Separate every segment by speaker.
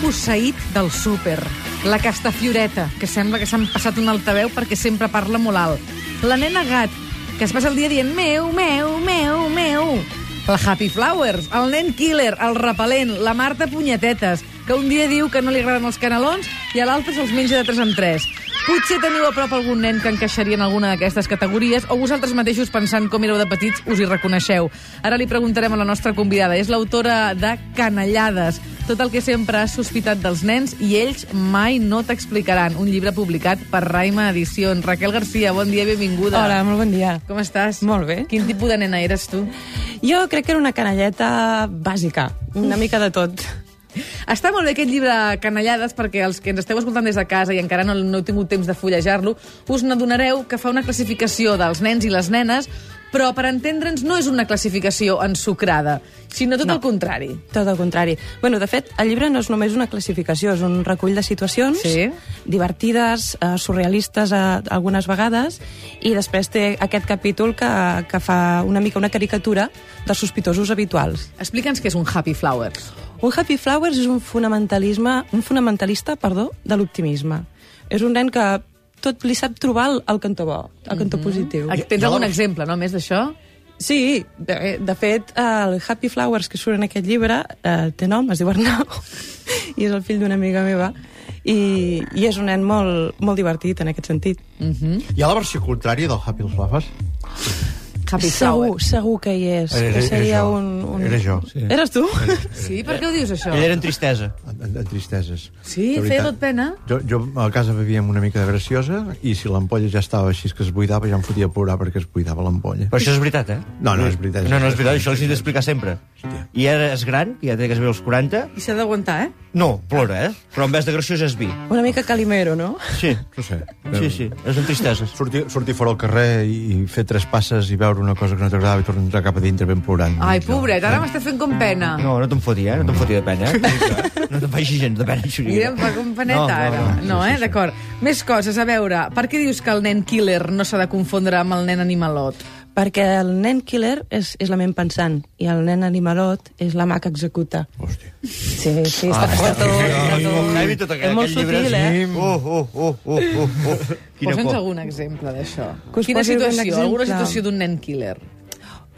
Speaker 1: posseït del súper. La Castafioreta, que sembla que s'han passat un altaveu perquè sempre parla molt alt. La nena gat, que es passa el dia dient meu, meu, meu, meu. La Happy Flowers, el nen killer, el repel·lent, la Marta Punyetetes, que un dia diu que no li agraden els canelons i a l'altre se'ls menja de 3 en 3. Potser teniu a prop algun nen que encaixaria en alguna d'aquestes categories o vosaltres mateixos pensant com éreu de petits us hi reconeixeu. Ara li preguntarem a la nostra convidada. És l'autora de Canellades, tot el que sempre has sospitat dels nens i ells mai no t'explicaran. Un llibre publicat per Raima Edicions. Raquel Garcia, bon dia i benvinguda.
Speaker 2: Hola, molt bon dia.
Speaker 1: Com estàs?
Speaker 2: Molt bé.
Speaker 1: Quin tipus de nena eres tu?
Speaker 2: Jo crec que era una canalleta bàsica, una mica de tot.
Speaker 1: Està molt bé aquest llibre Canellades perquè els que ens esteu escoltant des de casa i encara no, no heu tingut temps de fullejar-lo, us n'adonareu que fa una classificació dels nens i les nenes, però per entendre'ns no és una classificació ensucrada, sinó tot
Speaker 2: No.
Speaker 1: el contrari.
Speaker 2: Tot el contrari. Bueno, de fet, el llibre no és només una classificació, és un recull de situacions
Speaker 1: Sí.
Speaker 2: divertides, eh, surrealistes eh, algunes vegades, i després té aquest capítol que, que fa una mica una caricatura dels sospitosos habituals.
Speaker 1: Explica'ns què és un Happy Flowers.
Speaker 2: Un Happy Flowers és un fonamentalisme, un fonamentalista, perdó, de l'optimisme. És un nen que tot li sap trobar el, el cantó bo, el cantó positiu.
Speaker 1: Tens
Speaker 3: jo-
Speaker 1: algun exemple, no, més d'això?
Speaker 2: Sí, de, de fet, el Happy Flowers que surt en aquest llibre eh, té nom, es diu Arnau, i és el fill d'una amiga meva, i, i és un nen molt, molt divertit en aquest sentit.
Speaker 3: Hi ha la versió contrària del Happy Flowers?
Speaker 1: Happy
Speaker 2: Segur,
Speaker 1: Flowers.
Speaker 2: segur que hi és.
Speaker 3: Era-
Speaker 2: que
Speaker 3: era
Speaker 2: seria
Speaker 3: jo.
Speaker 2: un, un...
Speaker 3: Era jo.
Speaker 2: Sí. Eres tu?
Speaker 1: Sí, per què ho dius, això?
Speaker 4: Ell era en tristesa.
Speaker 3: En, en, en tristeses.
Speaker 1: Sí, feia
Speaker 3: De veritat.
Speaker 1: tot pena.
Speaker 3: Jo, jo a casa bevíem una mica de graciosa i si l'ampolla ja estava així que es buidava, ja em fotia a plorar perquè es buidava l'ampolla.
Speaker 4: Però això és veritat, eh?
Speaker 3: No, no, és veritat.
Speaker 4: No, no, és veritat, això els he d'explicar sempre.
Speaker 3: Hòstia.
Speaker 4: I ara és gran, que ja té que es veu els 40.
Speaker 1: I s'ha d'aguantar, eh?
Speaker 4: No, plora, eh? Però en vez de graciós és vi.
Speaker 2: Una mica Calimero, no?
Speaker 4: Sí.
Speaker 3: No sé.
Speaker 4: Sí, sí, és en tristeses.
Speaker 3: Sortir, sortir fora al carrer i, i fer tres passes i veure una cosa que no t'agradava i tornar a entrar cap a dintre ben plorant.
Speaker 1: Ai, pobret, ara m'està fent com pena.
Speaker 4: No, no te'n foti, eh? No te'n foti de pena, eh? No te'n faci gens de pena,
Speaker 1: Mira,
Speaker 4: Xuriguera.
Speaker 1: em fa com peneta, no, ara. No, eh? D'acord. Més coses, a veure, per què dius que el nen killer no s'ha de confondre amb el nen animalot?
Speaker 2: Perquè el nen killer és, és la ment pensant i el nen animalot és la mà que executa.
Speaker 3: Hòstia.
Speaker 2: Sí, sí, està, està tot... Està tot...
Speaker 4: Heavy, tot aquest,
Speaker 2: És molt
Speaker 4: aquest llibre,
Speaker 2: sutil, eh?
Speaker 4: sí. Oh, oh, oh, oh, oh, oh. Quina
Speaker 1: Posa'ns
Speaker 4: por.
Speaker 1: algun exemple d'això.
Speaker 2: Que us
Speaker 1: Quina
Speaker 2: posi algun
Speaker 1: situació? Alguna
Speaker 2: exemple.
Speaker 1: situació d'un nen killer?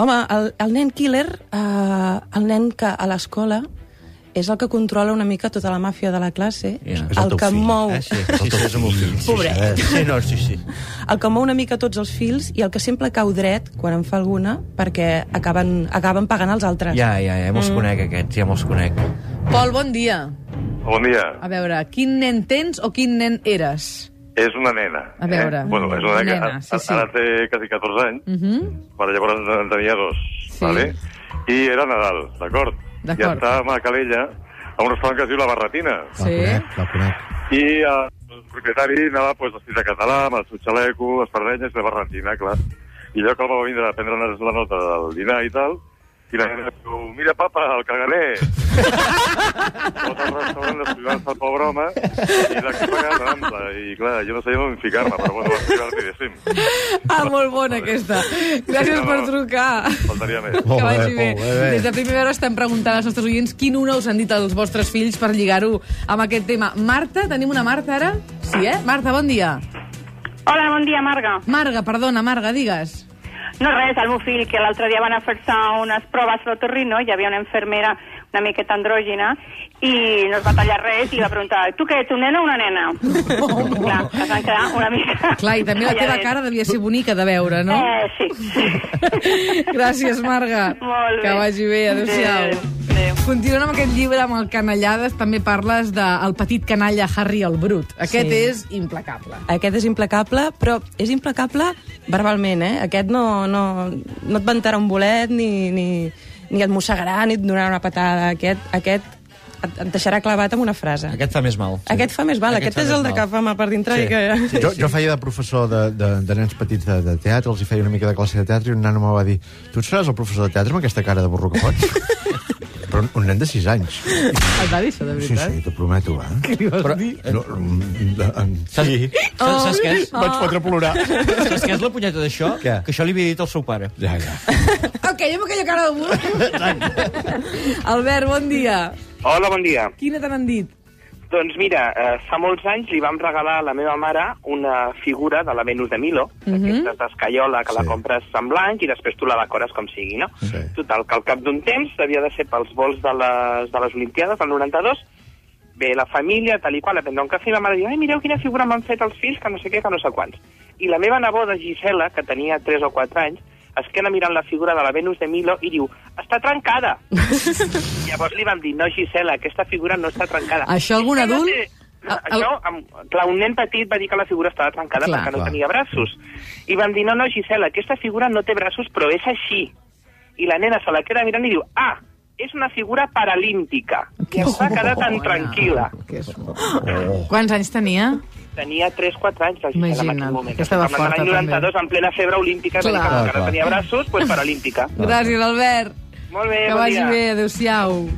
Speaker 2: Home, el, el nen killer, eh, el nen que a l'escola és el que controla una mica tota la màfia de la classe,
Speaker 4: Ja.
Speaker 3: És el
Speaker 2: el,
Speaker 3: teu
Speaker 2: que
Speaker 3: fill,
Speaker 2: mou,
Speaker 4: Eh, sí, sí, sí, és el meu fill. Sí, sí.
Speaker 3: eh?
Speaker 2: Pobret.
Speaker 4: Sí, no, sí, sí.
Speaker 2: el que mou una mica tots els fils i el que sempre cau dret quan en fa alguna perquè acaben, acaben pagant els altres.
Speaker 4: Ja, ja, ja,
Speaker 2: Mm.
Speaker 4: me'ls conec, aquests, ja me'ls conec.
Speaker 1: Pol, bon dia.
Speaker 5: Bon dia.
Speaker 1: A veure, quin nen tens o quin nen eres?
Speaker 5: És una nena.
Speaker 1: A veure.
Speaker 5: Eh? Bueno, és una nena,
Speaker 1: Nena,
Speaker 5: que a-
Speaker 1: sí, sí. Mm.
Speaker 5: ara té quasi 14 anys, uh
Speaker 1: Mhm.
Speaker 5: -huh. però llavors en tenia dos,
Speaker 1: Sí.
Speaker 5: vale? i era Nadal, d'acord? I
Speaker 1: D'acord.
Speaker 5: estàvem a Calella, a un restaurant que es diu La Barretina,
Speaker 3: La
Speaker 1: Sí.
Speaker 3: conec, la conec.
Speaker 5: i eh, el propietari anava pues, vestit de català, amb el seu xaleco, les pardenyes, la Barretina, clar. I allò que el va vindre a prendre'ns la nota del dinar i tal, i la nena diu, mira, papa, el caganer! Tot el restaurant desfilants el pobre home i la que paga l'ample. I clar, jo no sabia on ficar-me, però bueno, va ser divertidíssim.
Speaker 1: Ah, molt bona aquesta. Gràcies
Speaker 5: Sí, no,
Speaker 1: per
Speaker 5: no.
Speaker 1: trucar.
Speaker 5: Faltaria més.
Speaker 1: que vagi
Speaker 3: bé,
Speaker 1: bé.
Speaker 3: molt bé, bé.
Speaker 1: Des de primera hora estem preguntant als nostres oients quin una us han dit els vostres fills per lligar-ho amb aquest tema. Marta, tenim una Marta ara? Sí, eh? Marta, bon dia.
Speaker 6: Hola, bon dia, Marga.
Speaker 1: Marga, perdona, Marga, digues.
Speaker 6: No res, el meu fill, que l'altre dia van a fer-se unes proves a l'otorrino, hi havia una infermera una miqueta andrògina, i no es va tallar res, i va preguntar, tu què ets, un nen o una nena? Clar, es van quedar una mica...
Speaker 1: Clar, i també la teva
Speaker 6: calladets.
Speaker 1: cara devia ser bonica de veure, no?
Speaker 6: Eh, sí, sí.
Speaker 1: Gràcies, Marga.
Speaker 6: Eh. Molt bé.
Speaker 1: Que vagi bé, adéu-siau.
Speaker 6: Adéu, adéu.
Speaker 1: Continuant amb aquest llibre, amb el Canellades, també parles del petit canalla Harry el Brut. Aquest
Speaker 2: Sí.
Speaker 1: és implacable.
Speaker 2: Aquest és implacable, però és implacable verbalment, eh? Aquest no, no, no et ventarà un bolet, ni, ni, ni et mossegarà, ni et donarà una patada. Aquest, aquest et, et deixarà clavat amb una frase. Aquest,
Speaker 4: Aquest fa més mal.
Speaker 2: sí. aquest fa més mal, aquest,
Speaker 4: fa
Speaker 2: aquest és
Speaker 4: més
Speaker 2: el de
Speaker 4: mal.
Speaker 2: que fa mal per dintre sí.
Speaker 4: Sí.
Speaker 2: i que...
Speaker 3: jo, jo feia de professor de, de, de nens petits de, de teatre, els hi feia una mica de classe de teatre i un nano em va dir tu et seràs el professor de teatre amb aquesta cara de burro que fots? Però un, un nen de 6 anys.
Speaker 1: Et va dir això, de
Speaker 3: Sí,
Speaker 1: veritat?
Speaker 3: sí, t'ho prometo, eh?
Speaker 1: Li vas
Speaker 3: Però,
Speaker 1: dir? Oh,
Speaker 3: no, mm, de, em- sí.
Speaker 4: Saps, saps
Speaker 2: Oh,
Speaker 4: què és?
Speaker 3: Vaig fotre a plorar.
Speaker 4: Saps què és la punyeta d'això?
Speaker 3: Què?
Speaker 4: Que això li havia dit al seu pare.
Speaker 3: Ja, ja.
Speaker 1: Ok, jo amb aquella cara de burro. Albert, bon dia.
Speaker 7: Hola, bon dia.
Speaker 1: Quina te n'han dit?
Speaker 7: Doncs mira, eh, fa molts anys li vam regalar a la meva mare una figura de la Venus de Milo, mm -hmm. aquesta d'escaiola que sí. la
Speaker 3: Sí.
Speaker 7: compres en blanc i després tu la decores com sigui, no?
Speaker 3: Sí.
Speaker 7: Total, que al cap d'un temps havia de ser pels vols de les, de les Olimpiades del 92, ve la família, tal i qual, a prendre un cafè, i la mare diu, ai, mireu quina figura m'han fet els fills, que no sé què, que no sé quants. I la meva neboda, Gisela, que tenia 3 o 4 anys, es queda mirant la figura de la Venus de Milo i diu, està trencada! Llavors li vam dir, no, Gisela, aquesta figura no està trencada.
Speaker 1: Això algun
Speaker 7: Gisela
Speaker 1: adult-
Speaker 7: té-
Speaker 1: el- el-
Speaker 7: Això, amb, clar, un nen petit va dir que la figura estava trencada
Speaker 1: Clar.
Speaker 7: perquè no
Speaker 3: Clar.
Speaker 7: tenia braços. I vam dir, no, no, Gisela, aquesta figura no té braços, però és així. I la nena se la queda mirant i diu, ah, és una figura paralímpica. I es va quedar tan tranquil·la.
Speaker 1: Quants anys tenia?
Speaker 7: Tenia 3-4 anys la Gisela en
Speaker 1: Imagina't,
Speaker 7: aquell moment.
Speaker 1: que estava
Speaker 7: Estic parlant de
Speaker 1: forta,
Speaker 7: l'any 92, en plena febre olímpica,
Speaker 1: Clar.
Speaker 7: clar, que encara
Speaker 3: Clar.
Speaker 7: tenia braços, doncs pues, paralímpica.
Speaker 1: Gràcies, Albert.
Speaker 7: Molt bé,
Speaker 1: Que
Speaker 7: Eh, bon
Speaker 1: vagi
Speaker 7: dia.
Speaker 1: bé, adeu-siau.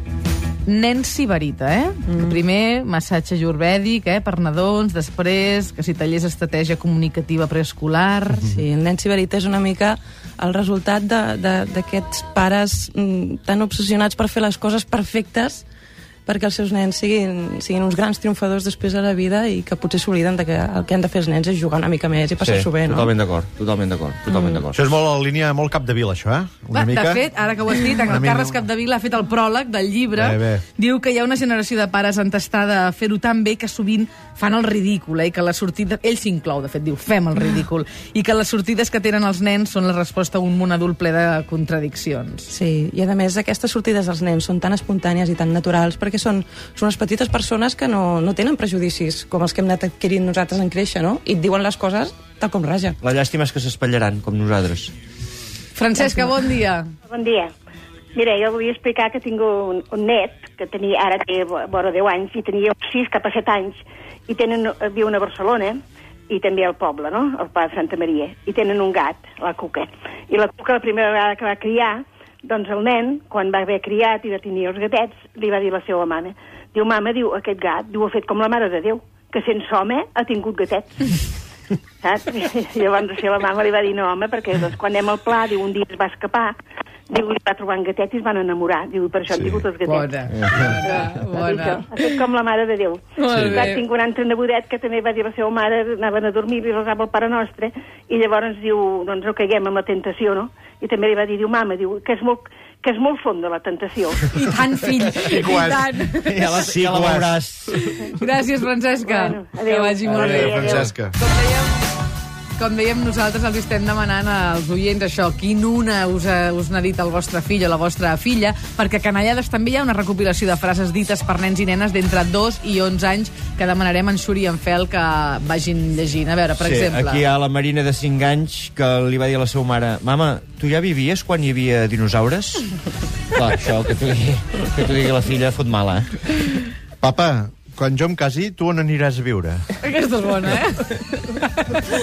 Speaker 1: Nen sibarita, eh? Mm. Primer, massatge jurvèdic, eh? Per nadons, després, que si tallers estratègia comunicativa preescolar...
Speaker 2: Sí, el nen siberita és una mica el resultat de- de- d'aquests pares mm, tan obsessionats per fer les coses perfectes perquè els seus nens siguin, siguin uns grans triomfadors després de la vida i que potser s'obliden de que el que han de fer els nens és jugar una mica més i passar-s'ho bé, no?
Speaker 4: Totalment d'acord, totalment d'acord, totalment d'acord.
Speaker 3: Això és molt a la línia, molt cap de vila, això, eh?
Speaker 1: Va, de fet, ara que ho has dit,
Speaker 3: Una
Speaker 1: el
Speaker 3: mica-
Speaker 1: Carles Capdevila ha fet el pròleg del llibre.
Speaker 3: Bé, bé.
Speaker 1: Diu que hi ha una generació de pares entestada a fer-ho tan bé que sovint fan el ridícul, eh? i que la sortida... Ell s'inclou, de fet, diu, fem el ridícul. I que les sortides que tenen els nens són la resposta a un món adult ple de contradiccions.
Speaker 2: Sí, i a més aquestes sortides dels nens són tan espontànies i tan naturals perquè són, són unes petites persones que no, no tenen prejudicis com els que hem anat adquirint nosaltres en créixer, no? I et diuen les coses tal com raja.
Speaker 4: La llàstima és que s'espatllaran, com nosaltres.
Speaker 1: Francesca, bon dia.
Speaker 8: Bon dia. Mira, jo vull explicar que tinc un, un net que tenia, ara té vo- vora 10 anys i tenia 6 cap a 7 anys i tenen, viuen a Barcelona i també al poble, no?, al Pla de Santa Maria. I tenen un gat, la Cuca. I la Cuca, la primera vegada que va criar, doncs el nen, quan va haver criat i va tenir els gatets, li va dir la seva mama, diu, mama, diu, aquest gat, diu, ha fet com la Mare de Déu, que sense home ha tingut gatets. saps? I llavors així la mama li va dir, no, home, perquè doncs, quan anem al pla, diu, un dia es va escapar, diu, li va trobar un gatet i es van enamorar, diu, i per això sí. han tingut els gatets.
Speaker 1: Bona, bona, bona.
Speaker 8: Ha fet com la mare de Déu.
Speaker 1: Molt
Speaker 8: I clar,
Speaker 1: bé.
Speaker 8: tinc un altre nebodet que també va dir a la seva mare, anaven a dormir, li resava el Pare Nostre, i llavors diu, doncs no caiguem amb la tentació, no? I també li va dir, diu, mama, diu, que és molt, que és molt fonda la tentació.
Speaker 1: I tant, fill, i
Speaker 3: quan?
Speaker 1: tant.
Speaker 4: Ja la, sí, ja la veuràs.
Speaker 1: Gràcies, Francesca.
Speaker 8: Bueno, adéu.
Speaker 1: que vagi molt
Speaker 3: Adéu,
Speaker 1: bé.
Speaker 3: Eh, Francesca.
Speaker 1: Com dèiem, com dèiem, nosaltres els estem demanant als oients això, quin una us ha, us n'ha dit el vostre fill o la vostra filla, perquè a Canallades també hi ha una recopilació de frases dites per nens i nenes d'entre 2 i 11 anys que demanarem en Xuri i en Fel que vagin llegint. A veure, per
Speaker 4: sí,
Speaker 1: exemple...
Speaker 4: Aquí hi ha la Marina de 5 anys que li va dir a la seva mare Mama, tu ja vivies quan hi havia dinosaures? Clar, això que t'ho digui, que t'ho digui la filla fot mala, eh?
Speaker 3: Papa, quan jo em casi, tu on aniràs a viure?
Speaker 1: Aquesta és bona, eh?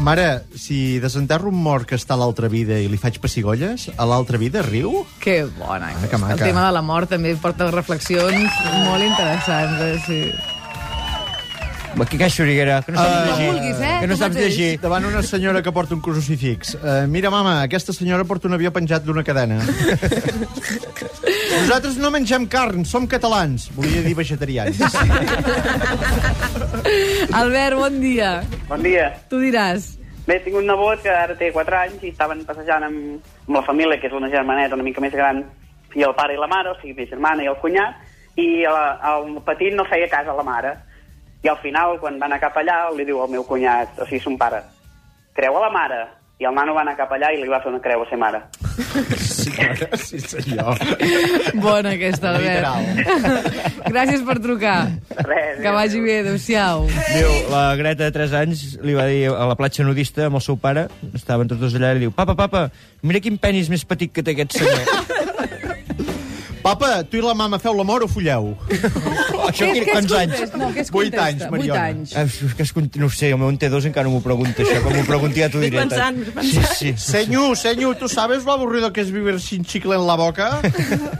Speaker 3: Mare, si desenterro un mort que està a l'altra vida i li faig pessigolles, a l'altra vida riu?
Speaker 1: Que bona.
Speaker 3: Maca,
Speaker 1: aquesta. El
Speaker 3: maca.
Speaker 1: tema de la mort també porta reflexions molt interessants. Eh? Sí.
Speaker 4: Va, que caixa xuriguera, que no saps
Speaker 1: Ah,
Speaker 4: llegir.
Speaker 1: no vulguis, eh?
Speaker 4: Que no
Speaker 1: Tu
Speaker 4: saps
Speaker 1: mateix.
Speaker 4: llegir.
Speaker 3: Davant una senyora que porta un crucifix. Uh, mira, mama, aquesta senyora porta un avió penjat d'una cadena. Nosaltres no mengem carn, som catalans. Volia dir vegetarians.
Speaker 1: Albert, bon dia.
Speaker 9: Bon dia.
Speaker 1: Tu diràs.
Speaker 9: Bé, tinc un nebot que ara té 4 anys i estaven passejant amb, amb la família, que és una germaneta una mica més gran, i el pare i la mare, o sigui, mi germana i el cunyat, i el, el petit no feia cas a la mare. I al final, quan va anar cap allà, li diu al meu cunyat, o sigui, son pare, creu a la mare. I el nano va anar cap allà i li va fer una creu a ser mare.
Speaker 3: sí, mare, sí, senyor.
Speaker 1: Bona aquesta, Albert.
Speaker 3: Literal.
Speaker 1: Gràcies per trucar.
Speaker 9: Res,
Speaker 1: Que vagi bé, adéu-siau.
Speaker 4: Diu, la Greta de 3 anys li va dir a la platja nudista amb el seu pare, estaven tots dos allà, i li diu, papa, papa, mira quin penis més petit que té aquest senyor.
Speaker 3: Papa, tu i la mama feu l'amor o folleu? Oh,
Speaker 4: Això
Speaker 1: Què-
Speaker 4: quin-
Speaker 1: què es
Speaker 4: quants anys?
Speaker 1: contesta? No, què es
Speaker 3: Vuit
Speaker 1: contesta?
Speaker 3: anys,
Speaker 1: Vuit
Speaker 3: Mariona.
Speaker 1: anys.
Speaker 4: Ah, és que es, cont- no ho sé, el meu en té dos encara no m'ho pregunta, això. Quan m'ho pregunti ja t'ho diré.
Speaker 2: Estic pensant, estic pensant.
Speaker 4: Sí, sí.
Speaker 3: Senyor, senyor, tu sabes lo aburrido que es vivir sin chicle en la boca?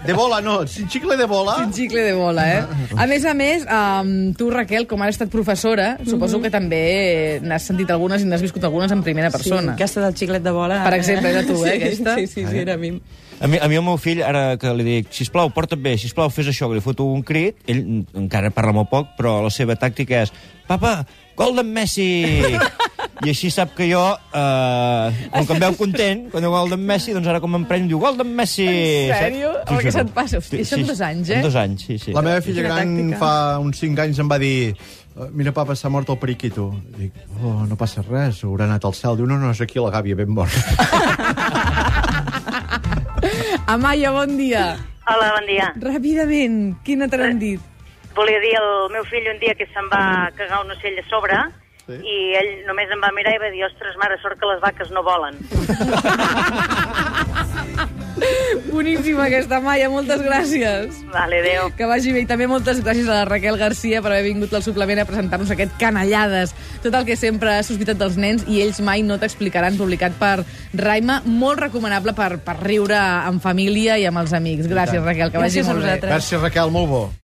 Speaker 3: De bola, no, sin chicle de bola.
Speaker 1: Un xicle de bola, eh? A més a més, um, tu, Raquel, com ara has estat professora, suposo que també n'has sentit algunes i n'has viscut algunes en primera persona.
Speaker 2: Sí, aquesta del xiclet de bola...
Speaker 1: Per exemple, era tu, eh,
Speaker 2: sí,
Speaker 1: aquesta?
Speaker 2: Sí, sí, sí, era a mi.
Speaker 4: A mi, a mi el meu fill, ara que li dic, sisplau, porta't bé, sisplau, fes això, que li foto un crit, ell mm, encara parla molt poc, però la seva tàctica és, papa, gol d'en Messi! I així sap que jo, eh, com que em veu content, quan diu gol d'en Messi, doncs ara com em pren, diu gol d'en Messi!
Speaker 1: En sèrio? Home,
Speaker 4: Saps? T'ho
Speaker 1: que
Speaker 4: juro.
Speaker 1: se't passa. Hosti, això en dos anys, eh?
Speaker 4: En dos anys, sí, sí.
Speaker 3: La meva filla
Speaker 2: Quina
Speaker 3: gran
Speaker 2: tàctica.
Speaker 3: fa uns 5 anys em va dir "Eh, mira, papa, s'ha mort el periquito. Dic, oh, no passa res, haurà anat al cel. Diu, no, no, és aquí la gàbia, ben mort.
Speaker 1: Amaya, bon dia.
Speaker 10: Hola, bon dia.
Speaker 1: Ràpidament, quina te n'han dit?
Speaker 10: Volia dir al meu fill un dia que se'n va cagar un ocell a sobre
Speaker 3: Sí.
Speaker 10: sí. i ell només em va mirar i va dir ostres, mare, sort que les vaques no volen.
Speaker 1: Boníssima aquesta, Amaya, moltes gràcies.
Speaker 10: Vale, adéu.
Speaker 1: Que vagi bé. I també moltes gràcies a la Raquel Garcia per haver vingut al suplement a presentar-nos aquest Canallades. Tot el que sempre has sospitat dels nens i ells mai no t'explicaran, publicat per Raima. Molt recomanable per, per riure en família i amb els amics. Gràcies, Raquel, que vagi
Speaker 2: Gràcies a
Speaker 1: molt bé.
Speaker 2: vosaltres.
Speaker 3: Gràcies, Raquel, molt bo.